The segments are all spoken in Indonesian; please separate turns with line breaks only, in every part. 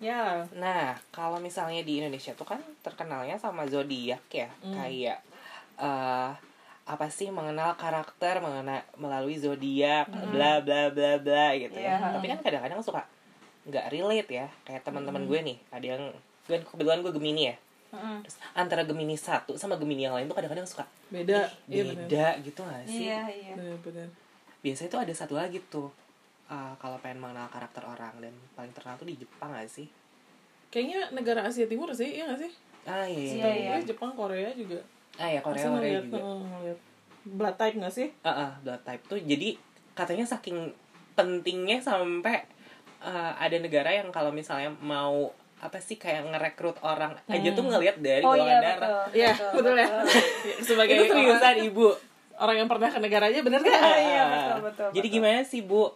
Ya.
Nah, kalau misalnya di Indonesia tuh kan terkenalnya sama zodiak ya,
Hmm.
kayak eh apa sih mengenal karakter mengena melalui zodiak,
Hmm.
bla bla bla bla gitu
Iya.
ya. Tapi kan kadang-kadang suka nggak relate ya, kayak
Hmm.
teman-teman gue nih, ada yang gue kebetulan gue Gemini ya.
Mm-mm.
Terus antara Gemini satu sama Gemini yang lain tuh kadang-kadang suka
Beda. Iya,
"Ih,
bener.
beda gitu gak sih?
Iya, iya.
Bener, bener.
Biasanya tuh ada satu lagi tuh. eh, kalau pengen mengenal karakter orang dan paling terkenal tuh di Jepang gak sih?
Kayaknya negara Asia Timur sih, iya gak sih?
Ah iya,
Iya, iya.
Terus Jepang, Korea juga.
Ah ya Korea,
Asal
Korea
ngeliat,
juga.
oh, ngeliat. Blood type gak sih?
Ah, ah, blood type tuh jadi katanya saking pentingnya sampai eh, ada negara yang kalau misalnya mau apa sih kayak ngerekrut orang aja tuh ngelihat dari
Oh
golongan
iya
darah.
betul.
Iya, betul ya. Sebagai
Itu seriusan ibu.
orang yang pernah ke negaranya bener gak?
Ah, iya, betul, betul,
Jadi
betul.
gimana sih bu?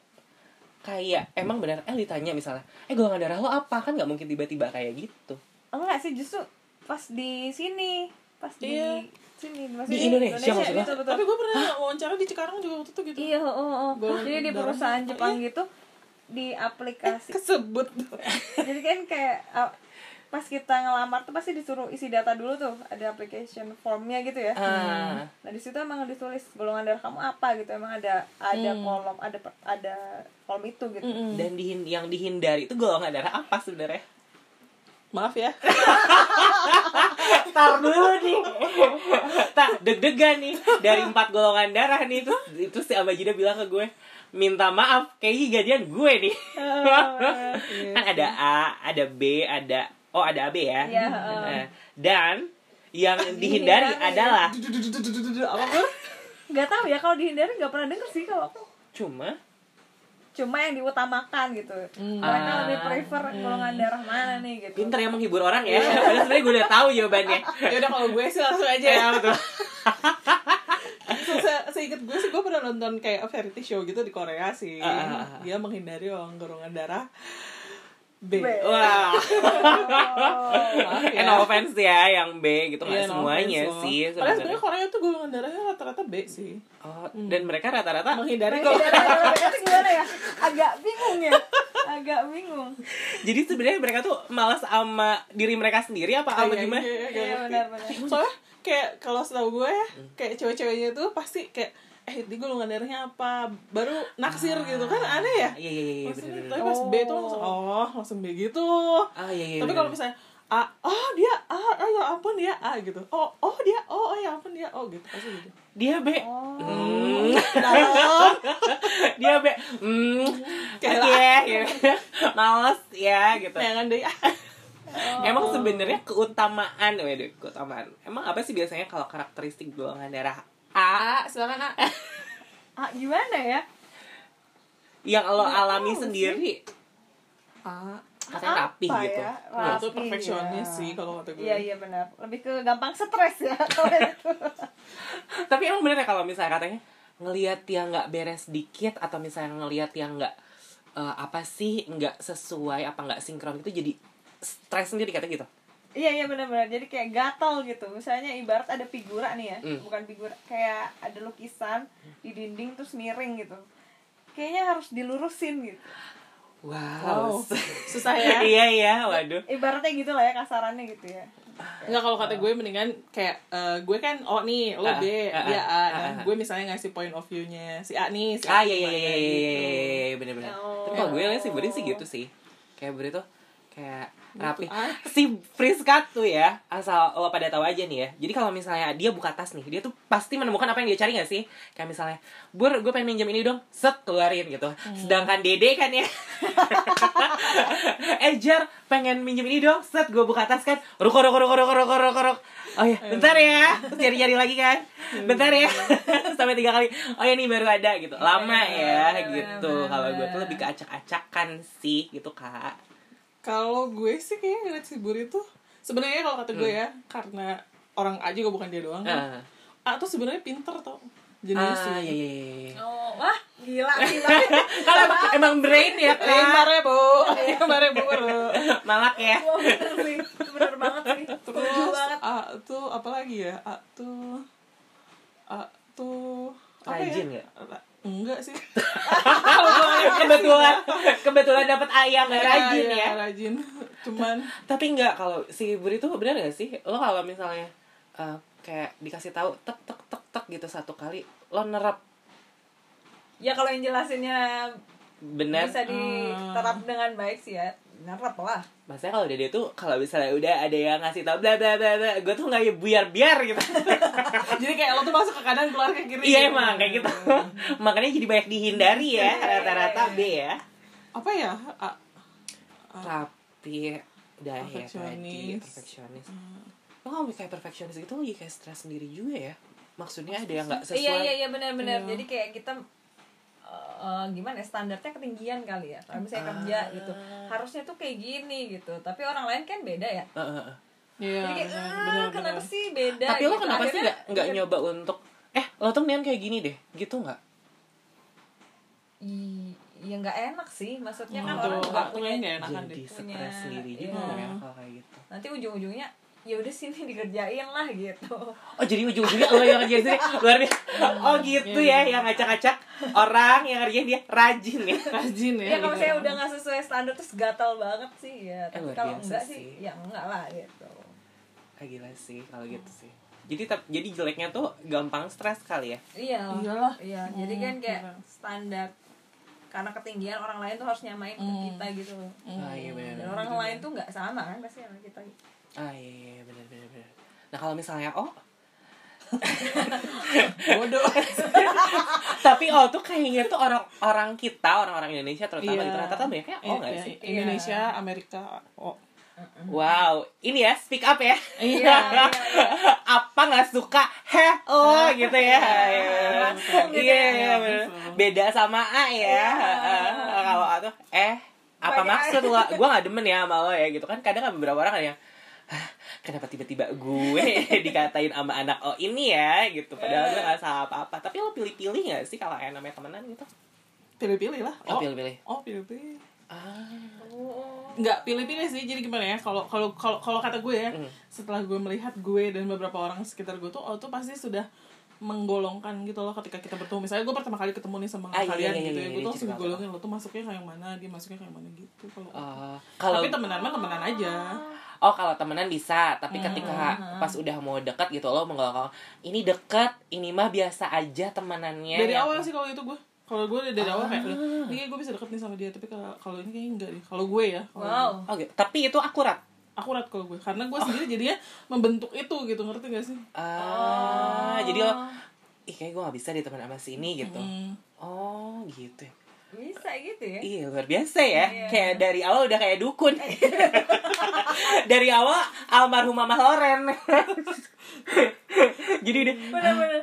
Kayak emang benar eh ditanya misalnya, eh golongan darah lo apa kan nggak mungkin tiba-tiba kayak gitu.
Enggak sih justru pas di sini, pas di
Iya.
sini
Di
maksudnya
Indonesia maksud lo?
gitu, betul.
Eh, Tapi gue pernah wawancara di Cikarang juga waktu itu gitu.
Iya, oh, oh, oh.
Golongan
Jadi di
darahnya
perusahaan
apa?
Jepang
Iya.
gitu di aplikasi.
Eh,
Kesebut.
Jadi kan kayak uh, pas kita ngelamar tuh pasti disuruh isi data dulu tuh, ada application formnya gitu ya.
Ah,
Nah di situ emang ditulis golongan darah kamu apa gitu, emang ada ada
Hmm.
kolom ada per- ada kolom itu gitu.
dan dihin- yang dihindari itu golongan darah apa sebenarnya?
Maaf ya.
Iya.
Tar dulu nih. Tak deg-degan nih dari empat golongan darah nih itu itu si Abah Jida bilang ke gue minta maaf kayaknya gajian gue nih.
Oh,
kan ada A, ada B, ada oh ada AB ya.
Iya,
Nah, Dan yang
Iya,
dihindari
Dihindari.
adalah
Apa gue?
Gak tahu ya kalau dihindari nggak pernah denger sih kalau aku.
cuma
Cuma yang diutamakan gitu. Mereka
Ah.
lebih prefer golongan darah mana nih gitu.
pinter yang menghibur orang
Iya.
ya. Padahal sebenarnya gue udah tahu jawabannya.
Ya udah kalau gue sih langsung aja ya.
Ya betul.
Se- se- Seinget gue sih gue pernah nonton kayak variety show gitu di Korea sih.
Ah, ah, ah.
Dia menghindari orang golongan darah B.
B.
Iya.
Wah.
Maaf ya.
Eh, no offense ya yang B gitu nggak
Iya, no offense
semuanya
loh.
sih
Padahal
sebenarnya.
sebenarnya Hmm. Korea tuh golongan darahnya rata-rata B sih.
Oh, dan mereka rata-rata
Menghindari
Tapi
golongan
darah- darah- darah gimana ya? Agak bingung ya. Agak bingung.
Jadi sebenarnya mereka tuh malas sama diri mereka sendiri apa sama
Iya,
gimana?
iya, iya,
Iya
iya.
benar-benar.
Soalnya kayak kalau setahu gue ya,
Hmm.
kayak cewek-ceweknya tuh pasti kayak eh di golongan darahnya apa baru naksir gitu kan aneh ya.
Iya iya iya iya,
Maksudnya,
bener-bener.
tapi pas B tuh langsung oh langsung B gitu.
Ah iya iya.
tapi
bener-bener.
kalau misalnya A, oh dia A, oh ya ampun dia A gitu. Oh, oh dia, oh, oh ya ampun dia, oh gitu. Pasti gitu.
dia B.
Oh.
Hmm. dia B. Hmm. Oke,
Kayak Nah,
gitu. Males ya gitu.
Jangan deh.
Emang sebenarnya keutamaan, waduh, keutamaan. Emang apa sih biasanya kalau karakteristik golongan darah A
A, silakan A.
Ah, gimana ya?
yang lo alami sendiri?
A.
Katanya rapi
Apa
gitu.
ya?
Nah, itu
Rapi,
perfeksionis
ya.
sih kalau kata gue.
Iya iya benar. Lebih ke gampang stres ya kalau itu.
Tapi emang bener ya kalau misalnya katanya ngelihat yang nggak beres dikit atau misalnya ngelihat yang nggak eh, apa sih nggak sesuai apa nggak sinkron itu jadi stres sendiri katanya gitu.
Iya iya benar-benar. Jadi kayak gatal gitu. Misalnya ibarat ada figura nih ya,
Hmm.
bukan figura kayak ada lukisan di dinding terus miring gitu. Kayaknya harus dilurusin gitu.
Wow.
Wow. Susah ya.
iya iya, waduh.
Ibaratnya gitu lah ya kasarannya gitu ya.
Enggak kalau kata gue mendingan kayak eh, gue kan oh nih lo
Ah,
B,
ah,
dia A.
ah, ah,
Nah,
ah.
gue misalnya ngasih point of view-nya si A nih, si A
Ah iya iya
gimana,
iya iya iya,
gitu.
iya, iya, bener bener.
Oh.
Tapi kalau gue lihat sih Budi sih gitu sih. Kayak Budi tuh kayak rapi.
ah.
Si Friska tuh ya, asal lo pada tahu aja nih ya. Jadi kalau misalnya dia buka tas nih, dia tuh pasti menemukan apa yang dia cari gak sih? Kayak misalnya, Bur, gue pengen minjem ini dong, set keluarin gitu.
Hmm.
Sedangkan Dede kan ya, Ejar Eh, pengen minjem ini dong, set gue buka tas kan, ruk ruk ruk ruk ruk ruk ruk. Oh ya, bentar ya, Terus cari-cari lagi kan, bentar ya, sampai tiga kali. Oh ya ini baru ada gitu, lama
Iya,
ya gitu. Kalau gue tuh lebih keacak-acakan sih gitu kak.
Kalau gue sih kayaknya ngeliat si Buri tuh sebenarnya kalau kata
Hmm.
gue ya karena orang A juga bukan dia doang. kan.
Ah,
A tuh sebenarnya pinter tau
ah
jenius
ya
sih.
ya.
Oh, wah, gila gila.
Kalau emang, emang brain ya
Lima
kak,
ribu, lima ribu baru.
malak ya.
Wah, bener sih. Itu bener banget sih. Bener
Terus
banget.
A tuh apa lagi ya? A tuh A tuh apa ya?
Rajin nggak?
Enggak sih.
kebetulan kebetulan dapat ayam nggak rajin
Iya,
ya.
iya, Rajin. Cuman
Tapi nggak kalau si Budi tuh benar nggak sih? Lo kalau misalnya eh, kayak dikasih tahu tek tek tek tek gitu satu kali lo nerap
ya kalau yang jelasinnya
bener
bisa diterap
Hmm.
dengan baik sih ya nerap lah
Maksudnya kalau dia tuh kalau misalnya udah ada yang ngasih tau bla bla bla bla, gue tuh nggak ya biar biar gitu.
jadi kayak lo tuh masuk ke kanan keluar ke kiri.
iya emang kayak gitu. Makanya jadi banyak dihindari ya rata-rata B ya.
Apa ya? A-
Oh.
Rapi, udah ya tadi
Perfeksionis.
perfeksionis. Lo kalau kayak perfeksionis gitu lo jadi kayak stres sendiri juga ya. Maksudnya ada yang nggak
iya iya
sesuai.
iya benar-benar jadi kayak kita eh, gimana ya, standarnya ketinggian kali ya kalau
Ah.
misalnya kerja gitu harusnya tuh kayak gini gitu tapi orang lain kan beda ya
Eh, eh, eh.
Iya.
jadi kayak
"Ah,
benar,
"Eh,
benar,
kenapa
benar.
sih beda
Tapi lo
gitu.
kenapa sih
Akhirnya-
nggak nggak nyoba untuk eh lo tuh mendingan kayak gini deh gitu nggak?
I- ya nggak enak sih maksudnya
Hmm.
kan
Betul.
orang nggak
Waktunya
punya
nggak enakan
Jadi
deh.
Punya,
stres sendiri juga
iya.
ya kalau kayak gitu.
nanti ujung-ujungnya ya udah sini dikerjain lah gitu
Oh jadi ujung-ujungnya lo yang ngerjain sendiri luar
Iya,
biasa. Oh gitu ya yang ngacak-ngacak orang yang ngerjain dia rajin ya.
Rajin ya.
ya kalau
gitu.
saya udah nggak sesuai standar terus gatal banget sih ya tapi
luar
kalau
biasa
enggak
sih.
sih ya enggak lah gitu
Ah, gila sih kalau gitu sih. Jadi tap- jadi jeleknya tuh gampang stres kali ya.
iya
Iyalah.
iya jadi kan kayak
gila.
standar karena ketinggian orang lain tuh harus nyamain ke kita gitu loh
Ah iya
dan
benar.
orang lain tuh nggak sama kan pasti sama kita
Ah iya, iya benar benar benar. Nah kalau misalnya oh
bodoh.
tapi oh tuh kayaknya tuh orang-orang kita orang-orang Indonesia terutama
Iya.
itu rata-rata banyaknya oh nggak
Iya,
sih?
iya. Indonesia, Amerika, oh.
Wow, ini ya speak up ya.
Iya, iya, iya.
Apa nggak suka? Heh, oh gitu ya. Iya,
Langsung Nah. gitu
Iya,
ya. Iya.
iya, bener. Beda sama A ya. Heeh. Kalau A tuh eh apa
Banyak.
maksud lo? Gue nggak demen ya sama lo ya gitu kan. Kadang ada beberapa orang ada yang "Hah, kenapa tiba-tiba gue dikatain sama anak oh ini ya gitu padahal gue gak salah apa-apa tapi lo pilih-pilih gak sih kalau yang namanya temenan gitu
Pilih-pilih lah.
oh, pilih-pilih
Oh, pilih-pilih.
ah
nggak pilih-pilih sih jadi gimana ya kalau kalau kalau kalau kata gue ya
Hmm.
setelah gue melihat gue dan beberapa orang sekitar gue tuh oh tuh pasti sudah menggolongkan gitu loh ketika kita bertemu misalnya gue pertama kali ketemu nih sama
Ah, iya,
kalian
iya,
gitu ya
iya, iya,
gue
iya,
tuh langsung
cerita.
digolongin lo tuh masuknya kayak yang mana dia masuknya kayak yang mana gitu kalau
Ah, kalau
tapi temenan mah temenan aja
Oh kalau temenan bisa, tapi ketika pas udah mau deket gitu lo menggolong ini deket, ini mah biasa aja temenannya.
dari
Ya.
awal sih kalau itu gue kalau gue dari awal kayak "Loh,
Ah.
ini kayak gue bisa deket nih sama dia tapi kalau kalau ini kayaknya enggak deh kalau gue ya kalau gue.
wow
Oke, Oh, gitu. tapi itu akurat.
akurat kalau gue karena
Oh.
gue sendiri jadinya membentuk itu gitu ngerti gak sih
Ah, jadi lo, ih kayak gue gak bisa ditemen sama si ini gitu.
Hmm.
Oh gitu. ya.
bisa gitu ya
Iya luar biasa ya. Kayak dari awal udah kayak dukun. dari awal almarhum Mama Loren. jadi udah.
benar-benar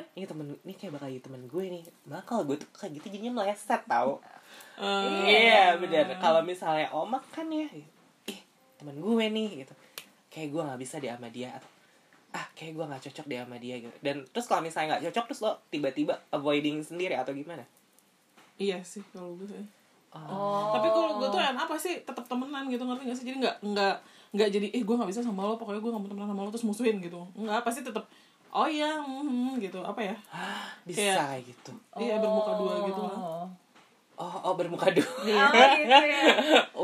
"Ah, Ini temen, ini kayak bakal jadi temen gue nih. Malah kalau gue tuh kayak gitu jadinya meleset tau.
Eh,
Iya bener Kalau misalnya omak kan ya Ih temen gue nih gitu Kayak gue gak bisa deh sama dia Atau, Ah kayak gue gak cocok deh sama dia gitu Dan terus kalau misalnya gak cocok Terus lo tiba-tiba avoiding sendiri atau gimana
iya sih kalau gue sih
Oh,
tapi kalau gue tuh yang apa sih tetap temenan gitu ngerti gak sih jadi nggak nggak nggak jadi eh gue nggak bisa sama lo pokoknya gue nggak mau temenan sama lo terus musuhin gitu nggak pasti tetap oh iya mhm," gitu apa ya
Ah, Bisa
Iya.
kayak gitu
iya bermuka dua gitu lah Iya,
oh
Oh, oh bermuka dua
Oh, gitu ya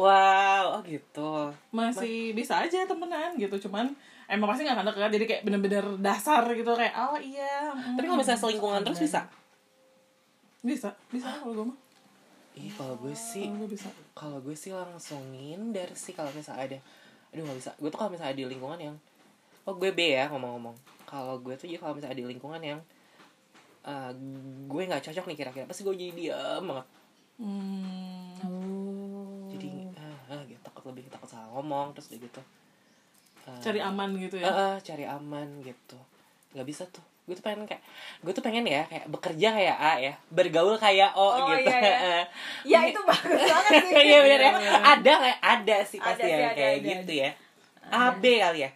Wow, oh gitu
masih bisa aja temenan gitu cuman emang pasti nggak akan dekat jadi kayak bener-bener dasar gitu kayak oh iya mhm."
Tapi kalau misalnya selingkungan terus bisa
bisa bisa kalau gue mah
Ih kalau gue sih
kalau gue bisa
kalau gue sih langsung ngindar sih kalau misalnya ada aduh gak bisa gue tuh kalau misalnya di lingkungan yang oh gue B ya ngomong-ngomong kalau gue tuh jadi kalau misalnya di lingkungan yang eh, gue nggak cocok nih kira-kira pasti gue jadi diam banget
hmm,
jadi
Hmm.
ah, ah, gitu, takut lebih takut salah ngomong terus udah gitu eh,
cari aman gitu
eh,
ya
eh, cari aman gitu nggak bisa tuh gue tuh pengen kayak gue tuh pengen ya kayak bekerja kayak A ya bergaul kayak O
Oh,
gitu
iya, iya.
Eh,
ya itu bagus banget sih
Iya benar ya. Ada nggak? Ada sih pasti
Ada sih,
yang
ada,
kayak
ada,
gitu ya. A B kali ya.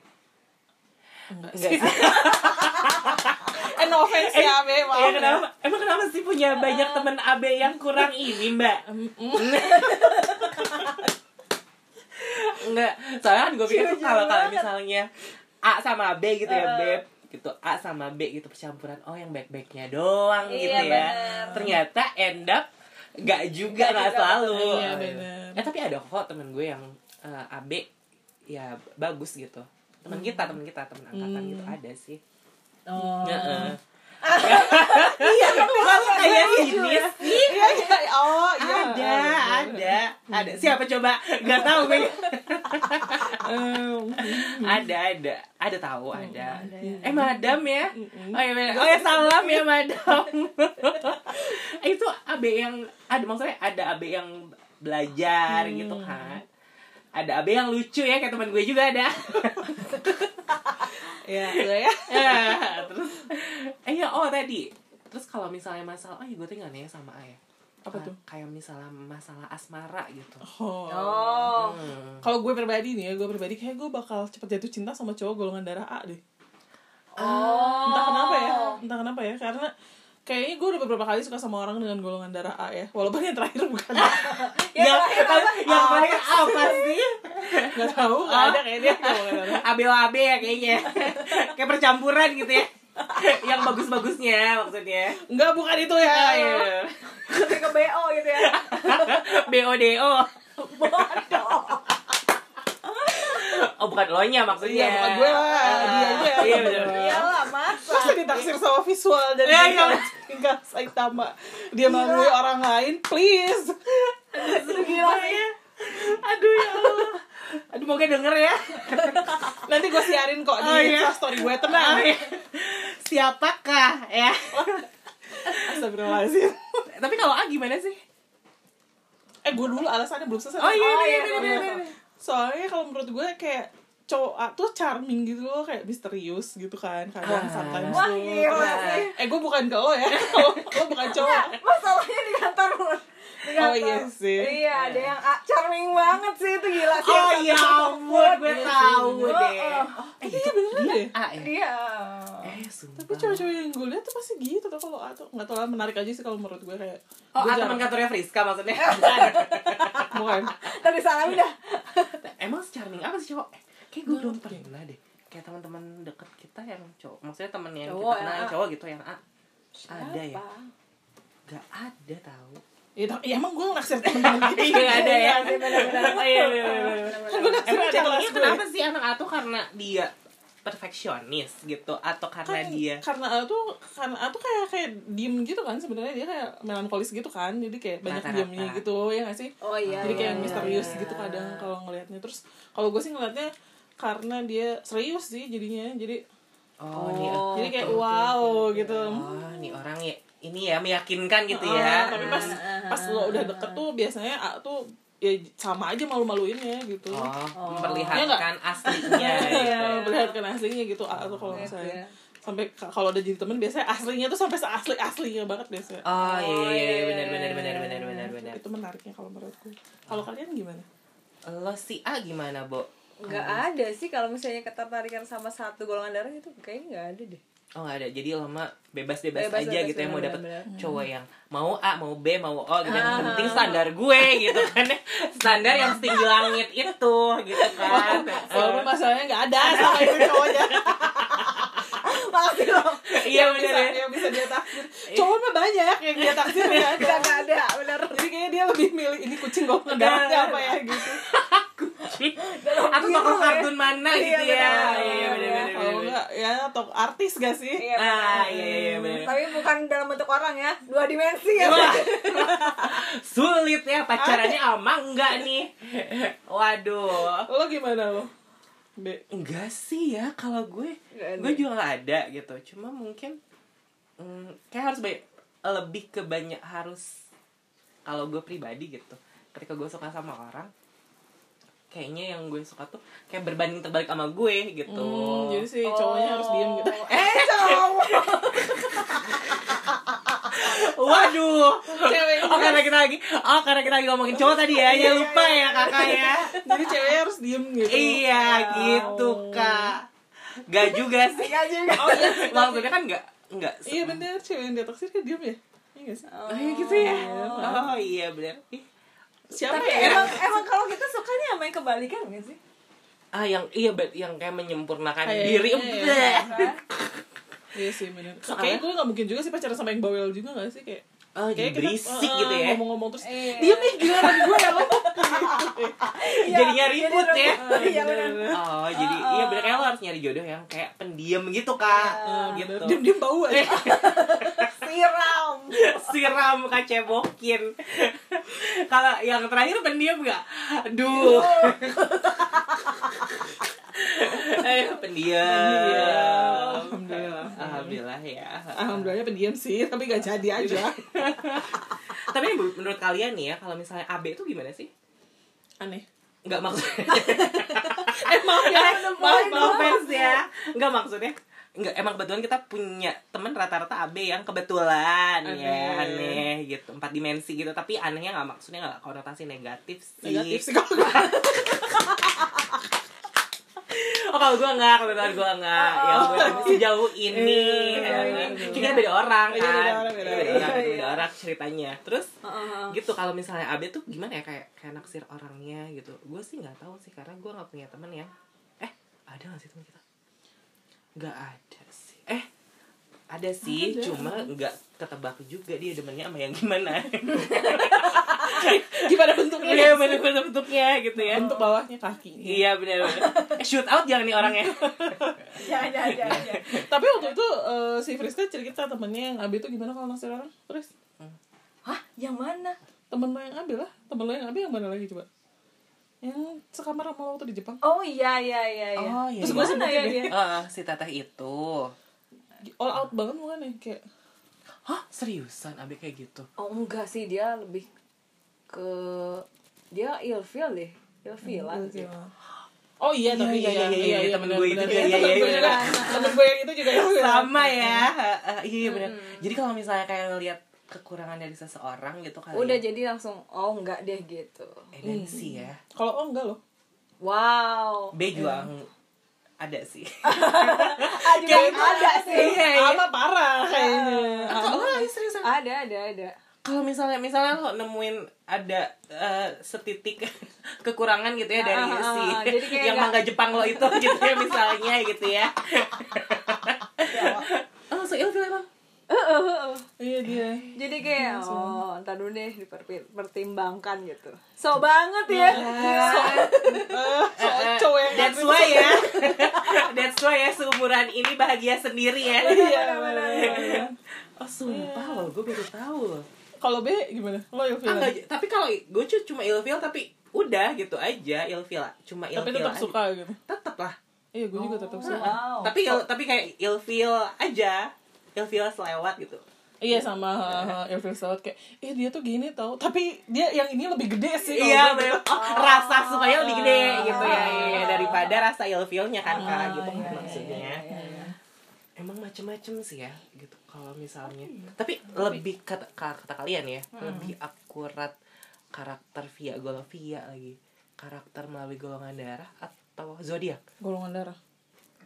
enggak
Enggak
sih
sih.
eh no offense ya Abe maaf
Ya, kenapa? Emang kenapa sih punya banyak temen A B yang kurang ini Mbak? Enggak. kan Soalnya kan gue pikir tuh
Jujur
kalau kalau
banget.
misalnya A sama B gitu ya B gitu A sama B gitu percampuran oh yang baik-baiknya doang
Iya,
gitu ya
bener.
ternyata end up gak juga
Nggak
nggak
juga.
selalu
Iya, bener.
Eh, tapi ada kok temen gue yang eh, AB ya bagus gitu temen kita temen kita temen angkatan gitu ada sih
Oh.
Heeh. iya kok kayak sinis
Iya, iya. Oh, iya.
ada ada ada siapa coba nggak tahu gue
Eh,
ada ada ada tahu ada eh madam ya oh ya madam. oh ya salam ya madam Eh, itu abe yang ada maksudnya ada abe yang belajar gitu kan ada abe yang lucu ya kayak teman gue juga ada
Iya, gitu ya.
Eh, terus eh ya oh tadi terus kalau misalnya masalah oh ya gue tinggal nanya sama ayah
Apa tuh?
kayak misalnya masalah asmara gitu
Oh.
Oh.
Hmm.
Kalau gue pribadi nih ya, gue pribadi kayak gue bakal cepet jatuh cinta sama cowok golongan darah A deh.
Oh.
entah kenapa ya entah kenapa ya karena kayaknya gue udah beberapa kali suka sama orang dengan golongan darah A ya walaupun yang terakhir bukan Iya,
Ya,
yang
terakhir
tapi-
Oh.
apa?
yang terakhir Ya, apa sih
ya, nggak tahu
Oh.
nggak ada kayaknya golongan darah A.
ABOAB ya kayaknya kayak percampuran gitu ya yang bagus-bagusnya maksudnya
nggak bukan itu ya
Ayo.
Lebih ke BO gitu ya.
BODO
Bodoh.
oh bukan lo nya maksudnya
Iya, bukan gue lah, dia ya. aja.
iya bener
Iyalah, masa.
Masa ditaksir sama visual dan
Iya, iya.
tinggal Saitama Dia melalui orang lain, please
Gila sih.
aduh ya Allah aduh moga denger ya
Nanti gue siarin kok di
Oh, iya.
Insta story gue, tenang
siapakah ya Ah.
Astagfirullahaladzim
tapi kalau A gimana sih
Eh gue dulu alasannya belum selesai
oh iya iya
Oh, iya,
iya, iya iya.
soalnya kalau menurut gue kayak cowok A tuh charming gitu loh kayak misterius gitu kan kadang
Ah.
sometimes
Wah,
tuh.
gila
Nah.
Terus-
sih.
iya.
eh gue bukan ke lo ya lo, lo bukan cowok
Masalahnya di kantor Mun. Di
Oh,
kantor.
iya sih.
Iya, ada yang ah, charming banget sih itu
Iya,
gila sih. Iya
oh ya ampun gue tahu
Oh,
deh
oh. Iya.
eh
Iya, bener deh.
A ya
Dia.
eh sumpah
tapi cowok-cowok yang gue lihat tuh pasti gitu tuh kalau A tuh nggak tau lah menarik aja sih kalau menurut gue kayak
Oh,
gue
ah, teman
jarang- kan.
kantornya Friska maksudnya.
bukan
Dari sana udah.
Emang charming apa sih cowok? Eh, Kayak gue belum pernah deh. Kayak teman-teman deket kita yang cowok, maksudnya temen yang
Cowok
kita
yang
kenal yang
A.
cowok gitu yang A. Ada ya?
Siapa?
Gak ada tahu.
ya, tapi- ya emang gue naksir temen-temen gitu
Iya gak ada ya.
Iya sih, benar-benar.
Oh, iya, iya, iya, iya.
kan gue naksir
Emang ada
kelas
temennya
gue.
kenapa sih anak A tuh karena dia perfeksionis gitu atau karena
kan
dia
karena A tuh karena A tuh kayak kayak diem gitu kan sebenarnya dia kayak melankolis gitu kan jadi kayak banyak
Rata-rata.
diemnya gitu ya nggak sih
Oh iya.
jadi kayak
iya, iya,
misterius
iya.
gitu kadang kalau ngelihatnya terus kalau gue sih ngelihatnya karena dia serius sih jadinya jadi
oh, nih
Oh,
jadi kayak
oke, oke,
wow
oke.
gitu
oh nih orang ya ini ya meyakinkan gitu
Ah,
ya
tapi pas pas lo udah deket tuh biasanya A tuh ya sama aja malu-maluinnya gitu
oh,
Oh.
memperlihatkan aslinya
Iya,
gitu
memperlihatkan aslinya gitu A tuh
Oh,
kalau
Iya, iya.
misalnya sampai ka- kalau udah jadi temen biasanya aslinya tuh sampai seasli aslinya banget biasanya
Oh iya iya iya
iya.
benar benar benar benar benar benar.
itu menariknya kalau menurutku
Oh.
kalau kalian gimana
Lo si A gimana, Bo?
Nggak ada sih kalau misalnya ketertarikan sama satu golongan darah itu kayaknya nggak ada deh.
Oh nggak ada, jadi lama bebas-bebas
Bebas,
aja
bebas,
gitu ya mau dapet
benar-benar. Hmm. Ah.
cowok yang mau A, mau B, mau O gitu Yang penting standar gue gitu kan Standar yang setinggi langit itu gitu kan
walaupun masalahnya nggak ada sama itu cowoknya
Makasih loh.
Iya
yang bisa,
benar ya
yang bisa dia taksir cowok mah banyak yang dia taksir ya
Nggak nggak ada, benar.
jadi kayaknya dia lebih milih ini kucing gue ngedarahnya apa
Iya,
ya gitu
Atau tokoh kartun mana
Iya,
gitu ya
benar.
Iya benar benar,
kalau
benar
enggak ya atau artis gak sih
Iya.
Ah iya iya, iya benar
Tapi bukan dalam bentuk orang ya, dua dimensi ya.
Wah. Sulit ya pacarannya ama enggak nih Waduh
lo gimana lo B
Enggak sih ya kalau gue
Nggak ada.
gue juga nggak ada gitu cuma mungkin mm, kayak harus banyak- lebih ke banyak harus kalau gue pribadi gitu ketika gue suka sama orang kayaknya yang gue suka tuh kayak berbanding terbalik sama gue gitu
Hmm, jadi sih cowoknya harus diem gitu
Oh.
Eh, cowok.
waduh
Ceweknya.
oh karena kita lagi oh karena kita lagi ngomongin cowok tadi ya
Iya,
ya lupa ya kakak ya
jadi ceweknya harus diem gitu
iya gitu kak gak juga sih
Nggak Iya juga.
maksudnya kan nggak nggak se-
Oh, iya bener cewek yang dia taksir kan diem ya Iya nggak sih?
Oh iya gitu ya. Oh iya benar. Ih,
Siapa
Tapi
ya?
emang emang kalau kita sukanya sama yang kebalikan nggak sih?
Ah yang iya bet yang kayak menyempurnakan
Kayaknya
diri.
ya.
Bleh.
Kan?
Iya sih bener.
Soalnya-
Kayaknya gue gak mungkin juga sih pacaran sama yang bawel juga gak sih kayak
Oh,
kayak
jadi
eh,
berisik gitu ya.
Ngomong-ngomong terus
Iya.
Diam nih gila tadi gue ya lo
Jadinya ribut ya.
Iya benar.
Oh, jadi iya bener kayak lo harus nyari jodoh yang kayak pendiam gitu, Kak. gitu.
Diam-diam bau aja
Siram.
Iya. siram muka cebokin kalau yang terakhir pendiam nggak duh eh pendiam
Alhamdulillah
alhamdulillah ya
Alhamdulillah pendiam sih Tapi gak jadi aja
tapi menur- menurut kalian nih ya kalau misalnya AB itu gimana sih
Aneh
nggak maksudnya
Eh maaf ya Maaf
maaf no
maaf
offense ya nggak maksudnya Enggak, emang kebetulan kita punya temen rata-rata AB yang kebetulan ya
Aneh.
aneh gitu empat dimensi gitu tapi anehnya nggak maksudnya nggak konotasi negatif sih
Negatif sih kalau gue
Oh kalau gue enggak, kalau gue enggak Ya gue sejauh ini
Oh, Iya,
ya
iya, iya.
kan? Kita beda orang
Iya,
kan
beda orang, beda
Iya,
orang.
beda orang,
Iya,
beda
iya.
orang ceritanya Terus
Heeh.
gitu kalau misalnya Abe tuh gimana ya kayak kayak naksir orangnya gitu Gue sih nggak tahu sih karena gue nggak punya temen yang Eh ada gak sih temen kita? Gak ada sih Eh ada sih,
Ada.
cuma nggak ketebak juga dia demennya sama yang gimana
Gimana bentuknya
Iya bener-bener bentuknya gitu ya
Bentuk bawahnya kaki
Iya bener-bener Eh, Shoot out jangan nih orangnya
Jangan jangan jangan. jangan.
Tapi waktu itu eh, si Friska cerita temennya yang AB itu gimana kalau naksir orang Terus
Hah, yang mana?
temen lo yang ambil lah temen lo yang ambil yang mana lagi coba yang sekamar sama lo waktu di Jepang
Oh iya iya iya iya.
Oh, iya.
Terus gua
Gimana
sebutin
ya
deh.
Heeh, si teteh itu
all out banget bukan ya kayak
Hah seriusan abe kayak gitu
Oh enggak sih dia lebih ke dia ilfil deh. Hmm, Ilfil lah.
oh iya tapi
iya, iya, iya, iya, temen gue itu
bener, bener.
juga, iya, iya,
Temen gue
iya,
juga,
bener.
temen gue yang itu juga yang
sama ya Heeh, iya iya benar
Hmm.
jadi kalau misalnya kayak ngelihat kekurangan dari seseorang gitu kali
Udah
ya.
jadi langsung oh enggak deh gitu.
Eh, dan sih ya
kalau oh enggak loh
Wow.
B juga ada sih
Ah, juga ada sih.
iya iya
apa parah kayaknya
kalau nggak, seriusan
Ada ada ada.
kalau misalnya misalnya lo nemuin ada eh, setitik kekurangan gitu ya dari
Ah, ah,
si
ah, jadi kayak
yang
nggak-
mangga Jepang lo itu gitu ya misalnya gitu ya oh so ilfil emang
iya dia
Jadi kayak oh ntar dulu deh dipertimbangkan gitu. So banget ya.
Eh,
Oh,
soal cowok yang
That's why ya. That's why ya seumuran ini bahagia sendiri ya.
iya
Oh sumpah loh, gue baru tahu loh.
kalau B gimana lo yang
Ah,
film
nggak, tapi kalau gue cu- cuma ilfil tapi udah gitu aja ilfil cuma ilfil.
tapi tetap
aja.
suka Oh, gitu
Tetep lah.
iya gue juga tetap suka
Wow.
Tapi il- tapi kayak ilfil aja. Ilfil selewat gitu.
Iya sama uh, Irvin Sawat kayak eh dia tuh gini tau tapi dia yang ini lebih gede sih kalau
Iya,
gua gitu.
bener. Oh, rasa sukanya lebih gede gitu ya, iya, iya. daripada rasa ilfilnya kan kak gitu kan maksudnya. Emang macem-macem sih ya gitu kalau misalnya. Tapi lebih kata, ka- kata kalian ya, lebih akurat karakter via golofia lagi. Karakter melalui golongan darah atau zodiak.
golongan darah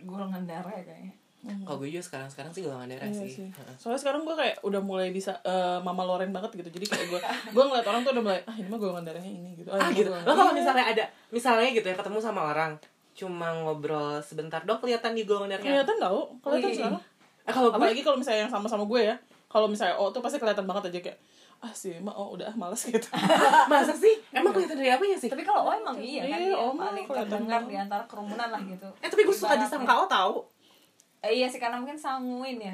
Golongan darah ya kayaknya.
Kalau gue juga sekarang-sekarang sih golongan darah
Iya
sih.
sih.
Heeh.
Soalnya sekarang gue kayak udah mulai bisa eh, mama Loren banget gitu. Jadi kayak gue gue ngeliat orang tuh udah mulai ah ini mah golongan darahnya ini gitu.
Ah
ini
gitu.
mah
Lo
golongan-
kalau misalnya ada misalnya gitu ya ketemu sama orang cuma ngobrol sebentar dong kelihatan di golongan darahnya.
kelihatan tau, kelihatan
Wih.
salah.
Eh, kalau gue
Apalagi kalau misalnya yang sama-sama gue ya. Kalau misalnya O tuh pasti kelihatan banget aja kayak ah sih mah oh udah ah, males gitu.
Masa sih? Emang kelihatan dari apanya sih?
Tapi kalau oh emang iya kan
Iya,
iya,
oh,
paling
kalau
terdengar
tenang.
di antara kerumunan lah gitu.
Eh tapi gue suka
Ibaratnya.
disangka oh tau
Eh, iya sih karena mungkin sanguin ya.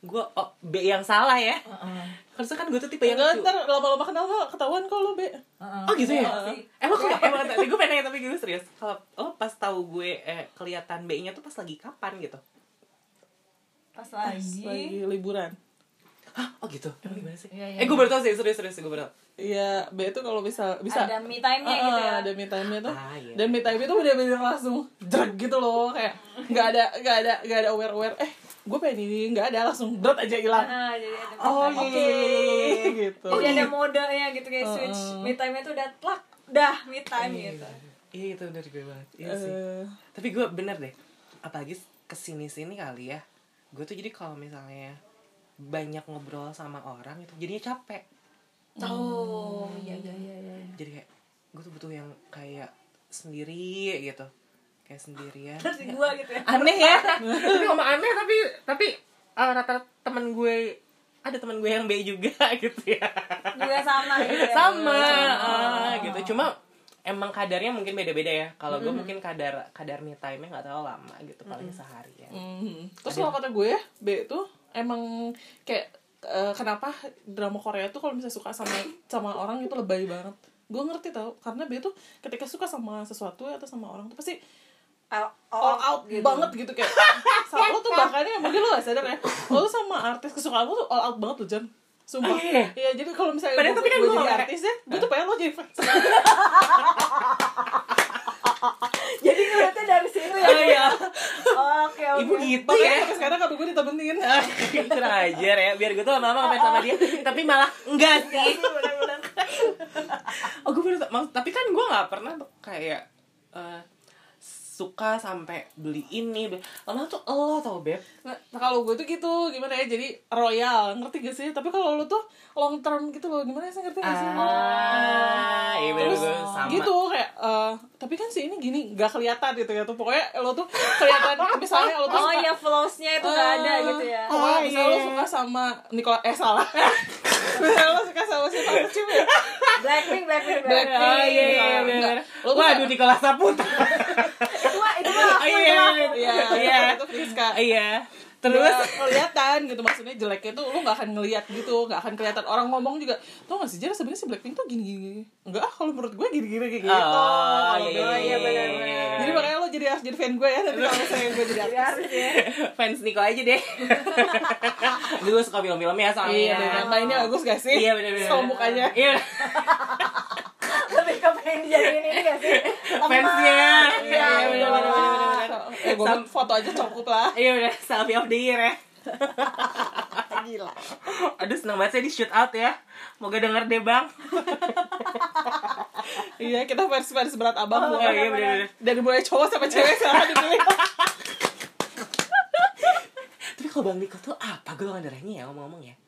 Gue oh, B yang salah ya
Heeh.
Harusnya kan gue tuh tipe yang
Enggak
lucu
Iya ntar lama-lama kenal lo ketahuan kok lo be.
Heeh.
Oh gitu ya?
Iya sih.
Emang kalau emang tadi gue pengen nanya, tapi gue serius Kalau lo pas tahu gue eh, kelihatan B-nya tuh pas lagi kapan gitu?
Pas
Pas lagi.
Lagi liburan.
Hah? Oh gitu? Emang gimana sih?
Iya, iya.
Eh gue baru tau sih, serius-serius gue baru tau
Iya, B itu kalau bisa bisa
Ada me time-nya
Ah,
gitu
ah,
ya.
Ada me time-nya tuh.
Ah, iya.
Dan me time itu bener-bener langsung drag gitu loh kayak nggak ada nggak ada nggak ada aware aware eh gue pengen ini nggak ada langsung drop aja hilang.
Heeh, Ah, jadi ada me
Oh
time.
iya
Oke
iya iya iya, iya.
gitu.
Jadi ada modenya gitu kayak switch. Me time-nya tuh udah tlak, dah me time gitu.
Iya itu bener gue banget Iya sih
Eh,
Tapi gue bener deh Apalagi kesini-sini kali ya Gue tuh jadi kalau misalnya banyak ngobrol sama orang itu jadinya capek
Oh, iya iya iya iya.
jadi kayak gue tuh butuh yang kayak sendiri gitu kayak sendirian
versi gue gitu ya
aneh ya tapi ngomong aneh tapi tapi eh, rata-rata temen gue ada temen gue yang B juga gitu ya
juga sama gitu ya
sama ah, gitu cuma emang kadarnya mungkin beda-beda ya kalau gue mungkin kadar kadar me time nya nggak terlalu lama gitu paling sehari ya
Mhm. Terus kalau kata gue, B tuh emang kayak eh, kenapa drama Korea tuh kalau misalnya suka sama sama orang itu lebay banget. Gue ngerti tau, karena B tuh ketika suka sama sesuatu atau sama orang tuh pasti
all,
all out banget gitu kayak sama lo tuh bahkannya mungkin lo gak sadar ya lo tuh sama artis kesukaan lo tuh all out banget tuh Jan sumpah
Oh, iya.
iya jadi kalau misalnya
Padahal
gue,
tapi kan
gue
gue
jadi
nggak kayak-
artis ya gue tuh pengen lo jadi fans Nah,
jadi ngeliatnya dari situ ya
oh iya
oke oke
ibu gitu
makanya
ya
sampai sekarang kata gue ditemenin
kurang ajar ya biar gue tuh lama-lama ngapain sama dia tapi malah enggak
Iya,
sih oh gue baru tau- maksud- tapi kan gue nggak pernah tuh kayak eh, suka sampai beli ini beli- lama tuh lo tau beb
Nah, kalau gue tuh gitu gimana ya jadi royal ngerti gak sih tapi kalau lo tuh long term gitu loh gimana sih ngerti gak sih
ah iya bener
terus
gue sama
gitu kayak eh, tapi kan si ini gini nggak kelihatan gitu ya tuh pokoknya lo tuh kelihatan misalnya lo tuh
oh
suka-
iya flowsnya itu nggak ada gitu ya
Oh,
Oh,
misalnya
iya.
lo suka sama Nikola eh salah. misalnya lo suka sama siapa lucu ya?
blackpink blackpink blackpink
Blackpink.
oh iya iya iya
Enggak.
bener
Lo tuh
waduh di kelas saputra
itu mah itu mah aku
iya
itu mah aku.
Iya,
iya
itu Friska.
iya
Terus
terus
kelihatan gitu maksudnya jeleknya tuh lo nggak akan ngelihat gitu, nggak akan kelihatan orang ngomong juga. Tuh nggak sih Jar sebenarnya si Blackpink tuh gini gini. Enggak, ah, kalau menurut gue gini gini kayak gitu.
Oh, iya,
Kalau
iya,
gue-
iya, iya.
Jadi makanya lo jadi harus jadi fan gue ya nanti kalau misalnya gue jadi
Jadi
artis.
harus ya
fans Niko aja deh dulu suka film-filmnya soalnya
Iya, dan mainnya bagus gak sih?
Iya benar-benar.
Soal mukanya.
Iya.
lebih ke pengen dijadiin ini gak sih
Fansnya.
Iya,
bener,
benar
bener, bener,
benar
bener.
Eh, gue
Sam-
foto aja cukup lah.
Iya udah selfie of the year ya.
Gila.
Aduh seneng banget saya di shoot out ya. Moga denger deh bang.
Iya, kita fans-fans berat abang
Oh,
loh.
iya, bener, bener.
Dari mulai cowok sampai cewek sekarang dipilih.
Tapi kalau bang Niko tuh apa golongan darahnya ya ngomong-ngomong ya?